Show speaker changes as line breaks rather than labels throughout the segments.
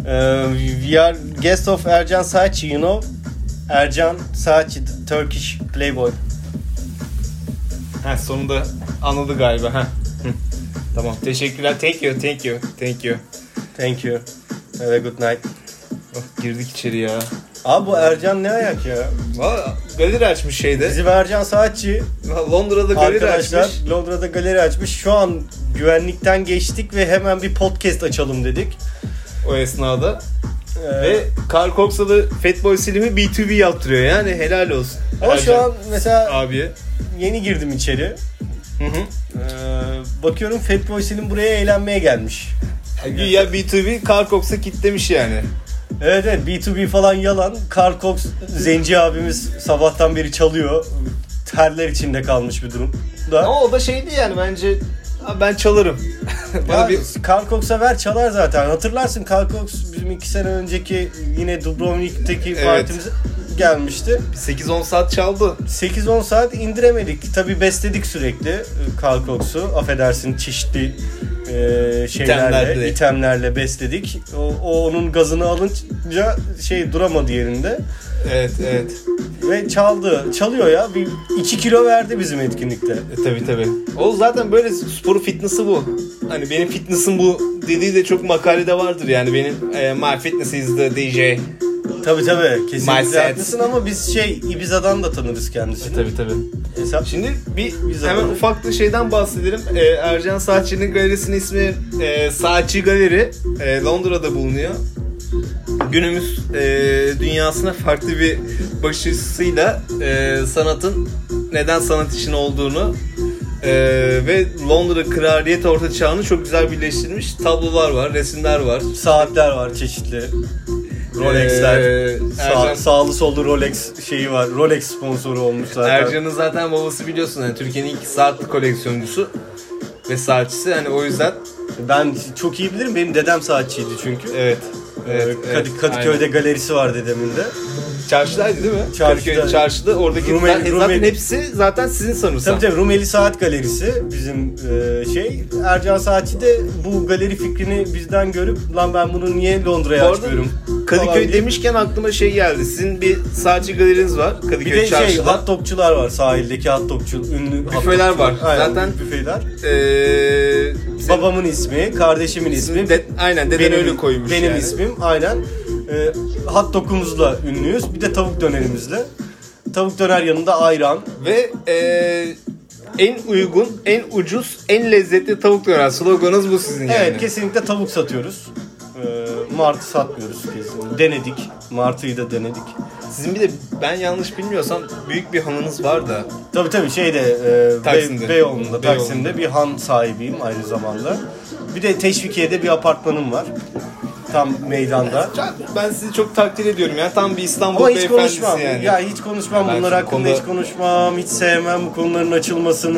Uh, we are guest of Ercan Saatçi, you know? Ercan Saatçi, the Turkish playboy.
Ha sonunda anladı galiba. Ha. Hı. tamam. Teşekkürler. Thank you. Thank you. Thank you.
Thank you. Have a good night.
Oh, girdik içeri ya.
Abi bu Ercan ne ayak ya?
Valla galeri açmış şeyde.
Bizim Ercan Saatçi
Londra'da galeri
arkadaşlar
açmış.
Londra'da galeri açmış. Şu an güvenlikten geçtik ve hemen bir podcast açalım dedik.
O esnada.
Ee,
Ve Carl Cox'la Fatboy Slim'i B2B yaptırıyor yani helal olsun.
ama şu
Ercan
an mesela
Abiye.
yeni girdim içeri.
Hı hı.
Ee, bakıyorum Fatboy Slim buraya eğlenmeye gelmiş.
Güya B2B Carl Cox'a kitlemiş yani.
Evet evet B2B falan yalan. Carl Cox Zenci abimiz sabahtan beri çalıyor. Terler içinde kalmış bir durum. Da.
Ama o da şeydi yani bence "Ha, ben çalarım. Bana
Ya,
bir
Carl Cox'a ver çalar zaten. Hatırlarsın Carl Cox bizim iki sene önceki yine Dubrovnik'teki
Evet.
partimize gelmişti.
8-10 saat çaldı.
8-10 saat indiremedik. Tabi besledik sürekli e, Carl Cox'u. Affedersin çeşitli e, şeylerle,
İtemlerle.
itemlerle besledik. O, o onun gazını alınca şey duramadı yerinde.
Evet evet.
Ve çaldı. Çalıyor ya. Bir 2 kilo verdi bizim etkinlikte.
E, tabii tabii. O zaten böyle spor fitness'ı bu. Hani benim fitness'ım bu dediği de çok makalede vardır yani. Benim e, my fitness is the DJ. E,
Tabi tabi.
My
Kesinlikle
set.
haklısın ama biz şey Ibiza'dan da tanırız kendisini.
tabii E, tabii.
Hesap
Şimdi bir
Biz
hemen
alalım.
ufak da şeyden bahsedelim. Ee, Ercan Saatçı'nın galerisinin ismi e, Saatçi Galeri. E, Londra'da bulunuyor. Günümüz e, dünyasına farklı bir bakış açısıyla e, sanatın neden sanat işin olduğunu e, ve Londra kraliyet orta çağını çok güzel birleştirmiş tablolar var, resimler var.
saatler var çeşitli. Rolex'ler.
Ee,
Sağ-
Ercan-
sağlı sollu Rolex şeyi var. Rolex sponsoru olmuş zaten.
Ercan'ın zaten babası biliyorsun yani Türkiye'nin ilk saatli koleksiyoncusu ve saatçisi. Hani o yüzden
Ben çok iyi bilirim. Benim dedem saatçiydi çünkü.
Evet. Evet,
Ee,
evet,
Kadı- Kadıköy'de galerisi var dedemin de.
aynen. Çarşıdaydı değil mi?
Çarşıda.
Kadıköy çarşıda oradaki
Rumeli-
zaten- zaten
Rumeli-
hepsi zaten sizin sanırsam.
Tabii tabii Rumeli Saat Galerisi bizim e, şey. Ercan Saatçi de bu galeri fikrini bizden görüp lan ben bunu niye
Bu
Londra'ya
arada
açmıyorum? falan
Kadıköy
diye.
demişken aklıma şey geldi. Sizin bir saatçi galeriniz var Kadıköy
Bir de şey
çarşıda.
hot dogçular var sahildeki hot dogçu ünlü hot
Büfeler
dogçular.
var.
Aynen,
Zaten-
büfeler.
Ee, bizim-
Babamın ismi, kardeşimin ismi.
sizin de- aynen deden öyle koymuş
Benim
yani.
ismim aynen. E, hot dogumuzla ünlüyüz. Bir de tavuk dönerimizle. Tavuk döner yanında ayran.
Ve ee, en uygun, en ucuz, en lezzetli tavuk döner sloganınız bu sizin yani.
Evet kesinlikle tavuk satıyoruz. Ee, martı satmıyoruz kesinlikle. Denedik. Martıyı da denedik.
Sizin bir de ben yanlış bilmiyorsam büyük bir hanınız var da.
Tabii tabii şeyde e,
Taksim'de.
Be- Beyoğlu'nda,
Beyoğlu'nda.
Taksim'de bir han sahibiyim aynı zamanda. Bir de Teşvikiye'de bir apartmanım var. Tam meydanda.
Ben sizi çok takdir ediyorum ya. Tam bir İstanbul
Ama hiç
beyefendisi
konuşmam.
yani.
Ya hiç konuşmam
Ben
bunlar
şu
hakkında
konuda-
hiç konuşmam. Hiç sevmem bu konuların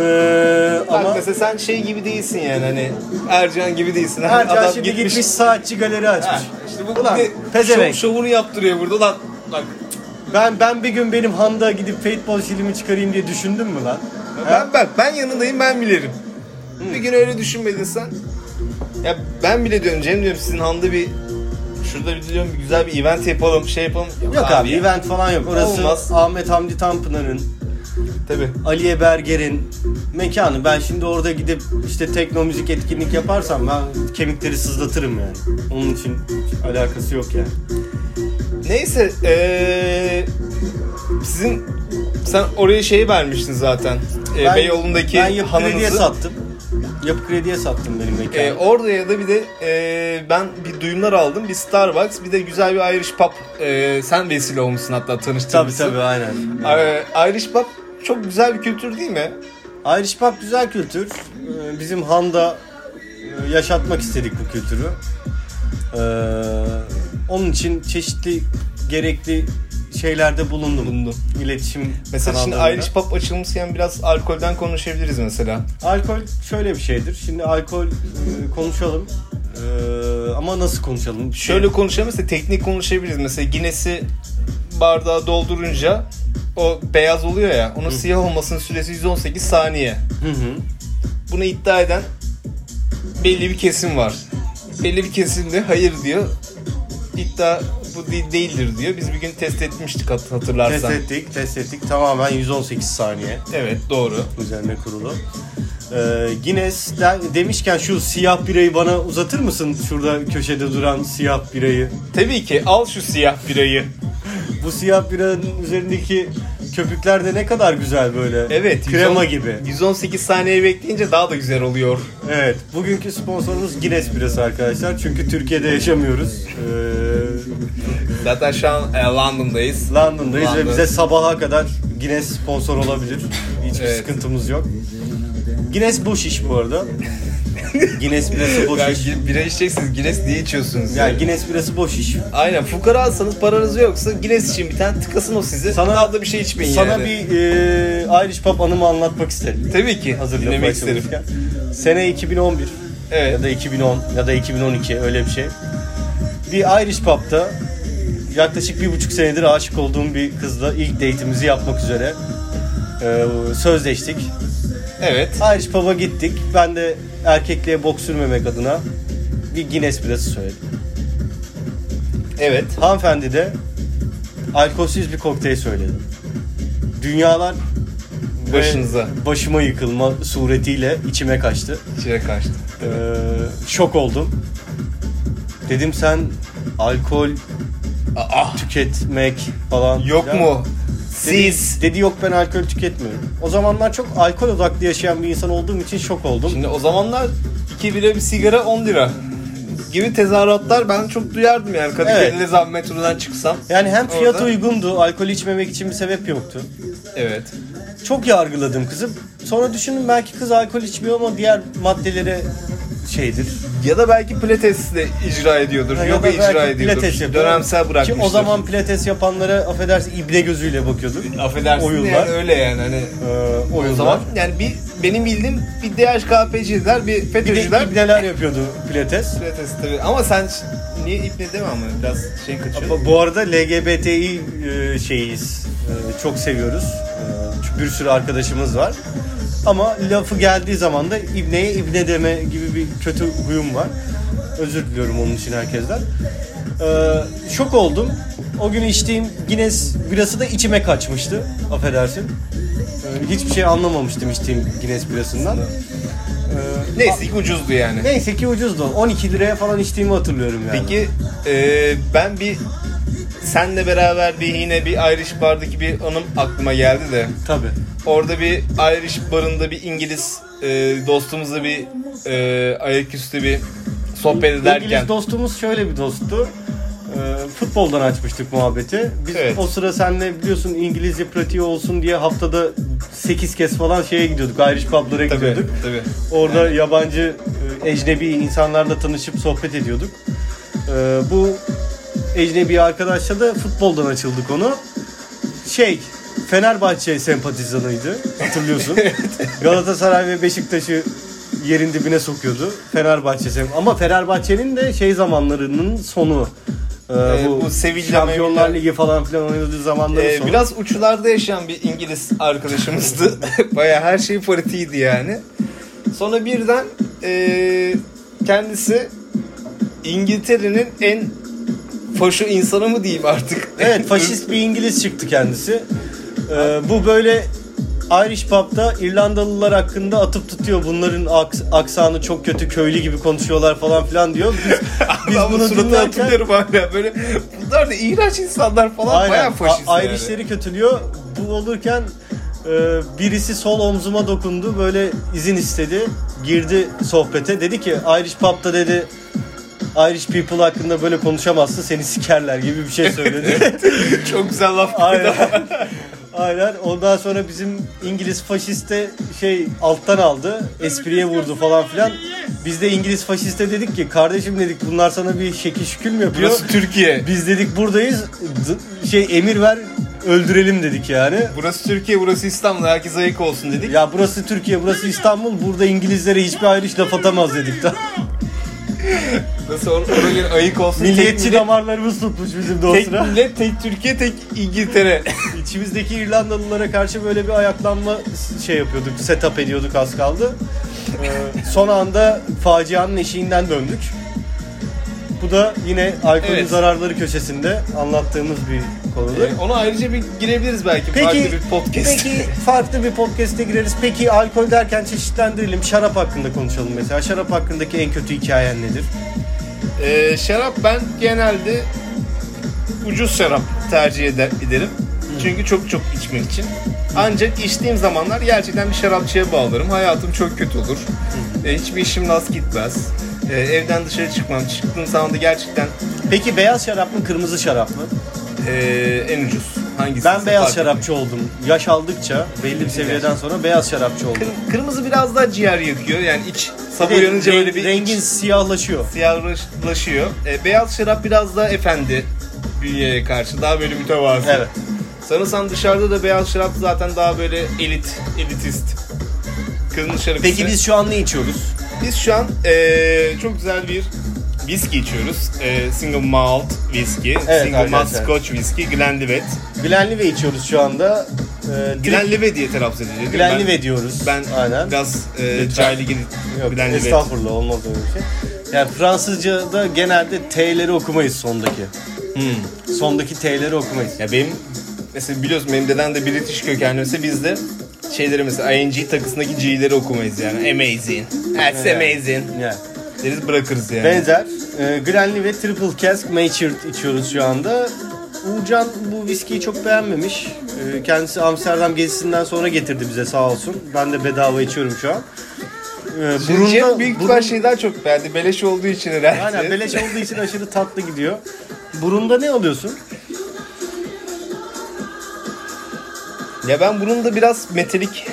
açılmasını.
Bak
Ama
mesela sen şey gibi değilsin yani hani Ercan gibi değilsin. Hani
her
Adam
şimdi gitmiş, saatçi galeri
Ha,
açmış.
İşte bu
Ulan,
bir
pezevenk.
şov- şovunu yaptırıyor burada lan. Bak
Ben ben bir gün benim Handa gidip Fatball filmi çıkarayım diye düşündün mü lan?
ben bak ben yanındayım ben bilirim. Bir gün öyle düşünmedin sen. Ya ben bile diyorum Cem diyorum sizin handa bir şurada bir diyorum bir güzel bir event yapalım şey yapalım.
Yok abi,
ya.
event falan yok. Orası
Olmaz.
Ahmet Hamdi Tanpınar'ın,
Tabii.
Aliye Berger'in mekanı. Ben şimdi orada gidip işte tekno müzik etkinlik yaparsam ben kemikleri sızlatırım yani. Onun için hiç alakası yok yani.
Neyse eee sizin sen oraya şeyi vermiştin zaten. Eee, E, Beyoğlu'ndaki
ben yapı krediye
hanınızı.
sattım. Yapı krediye sattım benim mekanı.
Ee, orada ya da bir de e, ben bir duyumlar aldım. Bir Starbucks, bir de güzel bir Irish Pub. E, sen vesile olmuşsun hatta
tabii
tanıştırmışsın.
tabii aynen.
Ee, Irish Pub çok güzel bir kültür değil mi?
Irish Pub güzel kültür. Ee, Bizim Han'da e, yaşatmak istedik bu kültürü. Ee, Onun için çeşitli gerekli şeylerde bulundum.
Bulundum.
İletişim
Mesela şimdi
kanallarında.
Irish Pub açılmışken biraz alkolden konuşabiliriz mesela.
Alkol şöyle bir şeydir. Şimdi alkol e, konuşalım. Ee, ama nasıl konuşalım?
Şöyle konuşalım mesela teknik konuşabiliriz. Mesela Guinness'i bardağa doldurunca o beyaz oluyor ya. Onun siyah olmasının süresi 118 saniye.
Hı hı.
Bunu iddia eden belli bir kesim var. Belli bir kesim de hayır diyor. iddia bu değil- değildir diyor. Biz bir gün test etmiştik hat- hatırlarsan.
Test ettik, test ettik. Tamamen 118 saniye
Evet doğru.
üzerine kurulu. Ee, Guinness de- demişken şu siyah birayı bana uzatır mısın? Şurada köşede duran siyah birayı.
Tabii ki al şu siyah birayı.
Bu siyah biranın üzerindeki köpükler de ne kadar güzel böyle.
Evet.
Krema
110
gibi.
118 saniye bekleyince daha da güzel oluyor.
Evet, bugünkü sponsorumuz Guinness birası arkadaşlar. Çünkü Türkiye'de yaşamıyoruz. Ee,
Zaten şu an e, London'dayız.
London'dayız ve
London.
bize sabaha kadar Guinness sponsor olabilir. Hiçbir
Evet.
sıkıntımız yok. Guinness boş iş bu arada. Guinness birası boş
Ya,
iş.
gi- bira içeceksiniz. Guinness niye içiyorsunuz?
Ya
Ya?
Guinness birası boş iş.
Aynen. Fukarasanız paranız yoksa Guinness için bir tane tıkasın o sizi.
Sana-
Sana daha da bir şey içmeyin
Sana
yani.
bir e, Irish Pub anımı anlatmak isterim.
Tabii ki.
Hazır
dinlemek
lafı
isterim.
açılmışken. Sene 2011
Evet.
ya da 2010 ya da 2012 öyle bir şey. Bir Irish Pub'da yaklaşık bir buçuk senedir aşık olduğum bir kızla ilk date'imizi yapmak üzere e, sözleştik.
Evet.
Irish Pub'a gittik. Ben de erkekliğe bok sürmemek adına bir Guinness birası söyledim.
Evet.
Hanımefendi de alkolsüz bir kokteyl söyledi. Dünyalar ve
Başınıza.
başıma yıkılma suretiyle içime kaçtı.
İçine kaçtı.
Ee, şok oldum. Dedim sen alkol
Aa,
tüketmek falan.
yok
filan.
mu?
Dedi,
Siz.
dedi yok ben alkol tüketmiyorum. O zamanlar çok alkol odaklı yaşayan bir insan olduğum için şok oldum.
Şimdi o zamanlar 2 bira bir sigara 10 lira gibi tezahüratlar ben çok duyardım yani Kadıköy'de
Evet.
zam metrodan çıksam.
Yani hem fiyat
Orada-
uygundu, alkol içmemek için bir sebep yoktu.
Evet.
Çok yargıladım kızı. Sonra düşündüm belki kız alkol içmiyor ama diğer maddelere şeydir.
Ya da belki pilatesle icra ediyordur.
Ya
yoga
da belki
icra ediyordur.
pilates yapıyor.
Dönemsel bırakmıştır.
Ki o zaman pilates yapanlara affedersin ibne gözüyle bakıyordu.
affedersin
oyunlar.
yani öyle yani hani
Ee, oyunlar.
o zaman yani bir benim bildiğim bir DHKPC'ler bir
bir de
FETÖ'cüler
ibneler yapıyordu pilates.
pilates tabii. Ama sen niye ipne deme ama biraz şey kaçıyor.
Bu arada LGBTİ e, şeyiz. E, Çok seviyoruz. E, Bir sürü arkadaşımız var. Ama lafı geldiği zaman da ibneye ibne deme gibi bir kötü huyum var. Özür diliyorum onun için herkesten. E, Şok oldum. O gün içtiğim Guinness birası da içime kaçmıştı. Affedersin. E, Hiçbir şey anlamamıştım içtiğim Guinness birasından. E,
Neyse ki ucuzdu yani.
Neyse ki ucuzdu. 12 liraya falan içtiğimi hatırlıyorum yani.
Peki eee, ben bir senle beraber bir yine bir Irish bardaki bir anım aklıma geldi de
Tabii.
orada bir Irish barında bir İngiliz eee, dostumuzla bir eee ayaküstü bir sohbet ederken
İngiliz dostumuz şöyle bir dosttu. Ee, futboldan açmıştık muhabbeti. Biz
Evet.
o sıra senle biliyorsun İngilizce pratiği olsun diye haftada 8 kez falan şeye gidiyorduk. Irish pub'lara
tabii
gidiyorduk.
tabii
Orada yabancı e, ecnebi insanlarla tanışıp sohbet ediyorduk. Ee, bu ecnebi arkadaşla da futboldan açıldı konu. Şey Fenerbahçe sempatizanıydı hatırlıyorsun. Galatasaray ve Beşiktaş'ı yerin dibine sokuyordu. Fenerbahçe sem ama Fenerbahçe'nin de şey zamanlarının sonu. Ee,
Ee,
bu,
bu Sevilla, E,
Şampiyonlar
Mevilla-
Ligi falan filan oynadığı zamanların
Eee,
sonu.
Ee, biraz uçlarda yaşayan bir İngiliz arkadaşımızdı baya her şey politiğiydi yani sonra birden eee, kendisi İngiltere'nin en faşo insanı mı diyeyim artık
Evet faşist bir İngiliz çıktı kendisi. Ee, bu böyle Irish pub'da İrlandalılar hakkında atıp tutuyor. Bunların aks- aksanı çok kötü köylü gibi konuşuyorlar falan filan diyor. Biz, biz
Adamın
bunu
suratını
dinlerken
hatırlıyorum hala böyle. Bunlar da iğrenç insanlar falan
aynen,
bayağı faşist
A-
yani.
Irish'leri kötülüyor. Bu olurken e, birisi sol omzuma dokundu. Böyle izin istedi. Girdi sohbete. Dedi ki Irish pub'da dedi Irish people hakkında böyle konuşamazsın seni sikerler gibi bir şey söyledi.
Çok güzel laf.
Aynen. Aynen. Ondan sonra bizim İngiliz faşiste şey alttan aldı. Espriye vurdu falan filan. Biz de İngiliz faşiste dedik ki kardeşim dedik bunlar sana bir şekil şükül mü yapıyor?
Burası Türkiye.
Biz dedik buradayız. D- şey emir ver öldürelim dedik yani.
Burası Türkiye, burası İstanbul. Herkes ayık olsun dedik.
Ya burası Türkiye, burası İstanbul. Burada İngilizlere hiçbir ayrış laf atamaz dedik de.
Nasıl or- oraya ayık olsun.
Milliyetçi
tek millet,
damarlarımız tutmuş bizim de o
tek,
sıra.
millet, tek Türkiye, tek İngiltere.
İçimizdeki İrlandalılara karşı böyle bir ayaklanma şey yapıyorduk, setup ediyorduk az kaldı. Ee, son anda facianın eşiğinden döndük. Bu da yine alkolün
Evet.
zararları köşesinde anlattığımız bir konudur.
Ee, ona ayrıca bir girebiliriz belki farklı bir podcast.
Peki farklı bir podcast'e gireriz. Peki alkol derken çeşitlendirelim. Şarap hakkında konuşalım mesela. Şarap hakkındaki en kötü hikayen nedir?
Ee, şarap ben genelde ucuz şarap tercih eder, ederim. Çünkü çok çok içmek için. Ancak içtiğim zamanlar gerçekten bir şarapçıya bağlarım. Hayatım çok kötü olur. Ee, hiçbir işim rast gitmez. Ee, evden dışarı çıkmam. Çıktığım zaman da gerçekten
Peki beyaz şarap mı kırmızı şarap mı?
ee, en ucuz. Hangisi?
Ben beyaz şarapçı oldum. Yaş aldıkça belli bir seviyeden sonra beyaz şarapçı oldum.
Kırmızı biraz daha ciğer yakıyor. Yani iç sabah
Renk-
uyanınca böyle bir iç-
rengin siyahlaşıyor.
siyahlaşıyor. E, beyaz şarap biraz daha efendi bünyeye karşı daha böyle mütevazı.
Evet.
Sanırsam dışarıda da beyaz şarap zaten daha böyle elit, elitist. Kırmızı şarap
Peki
ise-
biz şu an ne içiyoruz?
Biz şu an e, çok güzel bir viski içiyoruz. E, single malt viski,
Evet,
single malt
arkadaşlar.
scotch viski, Glenlivet.
Glenlivet içiyoruz şu anda. Ee, direkt
Glenlivet diye telaffuz ediliyor değil mi?
Glenlivet diyoruz.
Ben, ben
Aynen.
biraz e,
Lütfen.
cahili gidip
Yok,
Glenlivet.
estağfurullah olmaz öyle bir şey. Yani Fransızca'da genelde T'leri okumayız sondaki.
Hmm.
Sondaki T'leri okumayız.
Ya benim mesela biliyorsun benim deden de British kökenli mesela biz de şeyleri mesela ING takısındaki G'leri okumayız yani. Amazing. That's amazing.
Yani.
Deriz bırakırız yani.
Benzer. E, Glenlivet Triple Cask Matured içiyoruz şu anda. Uğurcan bu viskiyi çok beğenmemiş. E, kendisi Amsterdam gezisinden sonra getirdi bize sağ olsun. Ben de bedava içiyorum şu an. E,
Burunda, Cem
burunda-
büyük
burun-
ihtimal şey daha çok beğendi. Beleş olduğu için herhalde.
Aynen beleş olduğu için aşırı tatlı gidiyor. Burunda ne alıyorsun?
Ya ben bunun da biraz metalik.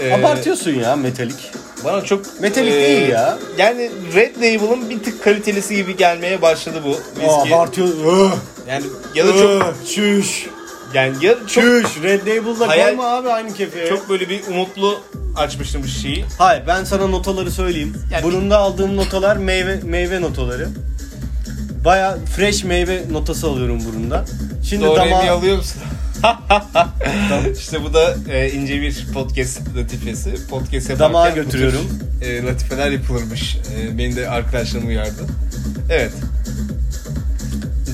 Ee,
Abartıyorsun ya metalik.
Bana çok...
Metalik
ee,
değil ya.
Yani Red Label'ın bir tık kalitelisi gibi gelmeye başladı bu viski.
Abartıyorsun.
yani ya da çok...
Çüş.
Yani ya çok,
Çüş. Red Label'da
Hayal-
koyma abi aynı kefeye.
çok böyle bir umutlu açmıştım bu şeyi.
Hayır ben sana notaları söyleyeyim.
Yani-
Burunda aldığım notalar meyve meyve notaları. Baya fresh meyve notası alıyorum burunda. Şimdi
Doğru
damağa-
evi alıyor musun? işte bu da e, ince bir podcast latifesi. Podcast yaparken
Damağa
bu tür,
götürüyorum.
e, latifeler yapılırmış. E, beni de arkadaşlarım uyardı. Evet.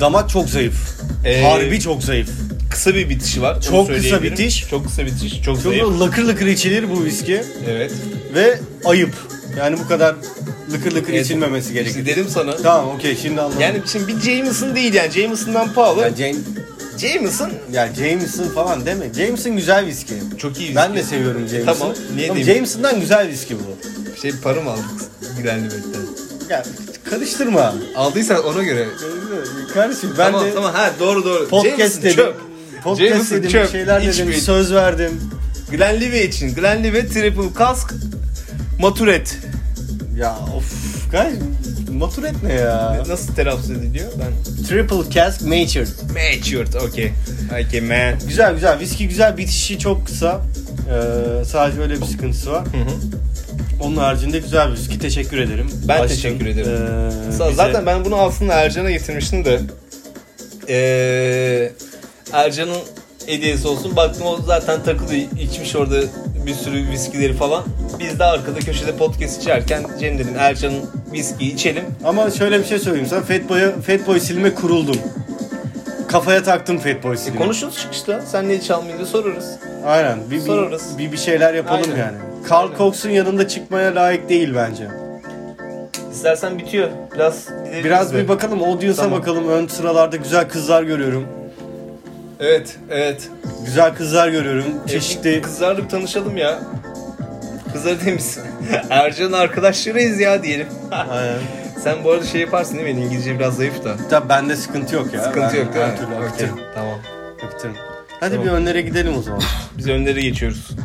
damak çok zayıf.
Ee,
Harbi çok zayıf.
Kısa bir bitişi var. onu
Çok kısa
söyleyebilirim.
bitiş.
Çok kısa bitiş. Çok
Çok
zayıf.
böyle lakır lakır içilir bu viski
Evet.
ve ayıp. Yani bu kadar lıkır lıkır
Evet.
içilmemesi gerekir.
İşte dedim sana.
Tamam okey şimdi anladım.
Yani şimdi bir Jameson değil yani. Jameson'dan pahalı.
ya, Jane,
Jameson
ya Jameson falan deme. Jameson güzel viski.
çok iyi.
Ben de
viski.
seviyorum Jameson'ı.
Tamam, niye
Tamam,
diyeyim?
Jameson'dan güzel viski bu.
Şey para mı aldık? Giderli betten.
Ya karıştırma.
Aldıysan ona göre.
Kardeşim ben
tamam
de
tamam ha doğru doğru.
podcast
Jameson
dedim.
çöp.
Podcast
Jameson
dedim,
çöp,
bir şeyler dedim,
içmeyin.
söz verdim.
Glenlivet için. Glenlivet Triple Kask Maturet.
Ya of, kardeş matur etme ya.
Nasıl telaffuz ediliyor? Ben
Triple Cask Matured.
Matured. Okay. Okay man.
Güzel güzel, viski güzel, bitişi çok kısa. Ee, sadece öyle bir sıkıntısı var.
Hı hı.
Onun haricinde güzel bir viski. Teşekkür ederim.
Ben teşekkür ederim.
Ee,
Sa-
bize-
Zaten ben bunu aslında Ercan'a getirmiştim de. Ee, Ercan'ın hediyesi olsun. Baktım o zaten takılı içmiş orada bir sürü viskileri falan. Biz de arkada köşede podcast içerken Cem dedim Ercan'ın viskiyi içelim. E,
Ama şöyle bir şey söyleyeyim sana. Fatboy'a, Fatboy silme kuruldum. Kafaya taktım Fatboy silme.
Konuşuruz çıkışta. Sen ne çalmayı da sorarız.
Aynen. Bir,
Sorarız.
bir, bir, bir şeyler yapalım
Aynen.
yani. Carl
Aynen.
Cox'un yanında çıkmaya layık değil bence.
İstersen bitiyor. Biraz gidelim
Biraz
biz de.
bir bakalım audience'a
Tamam.
bakalım. Ön sıralarda güzel kızlar görüyorum.
Evet, evet.
Güzel kızlar görüyorum.
Çeşitli
Çeşitli
kızlarla bir tanışalım ya. Kızlar demişsin. Ercan'ın arkadaşlarıyız ya diyelim.
Aynen.
Sen bu arada şey yaparsın değil mi? İngilizce biraz zayıf da.
Tabii bende sıkıntı yok ya.
Sıkıntı
Ben
yok değil
Her
mi?
türlü
Okey,
akıtırım.
Tamam.
akıtırım. Hadi
Tamam.
bir önlere gidelim o zaman.
Biz önlere geçiyoruz.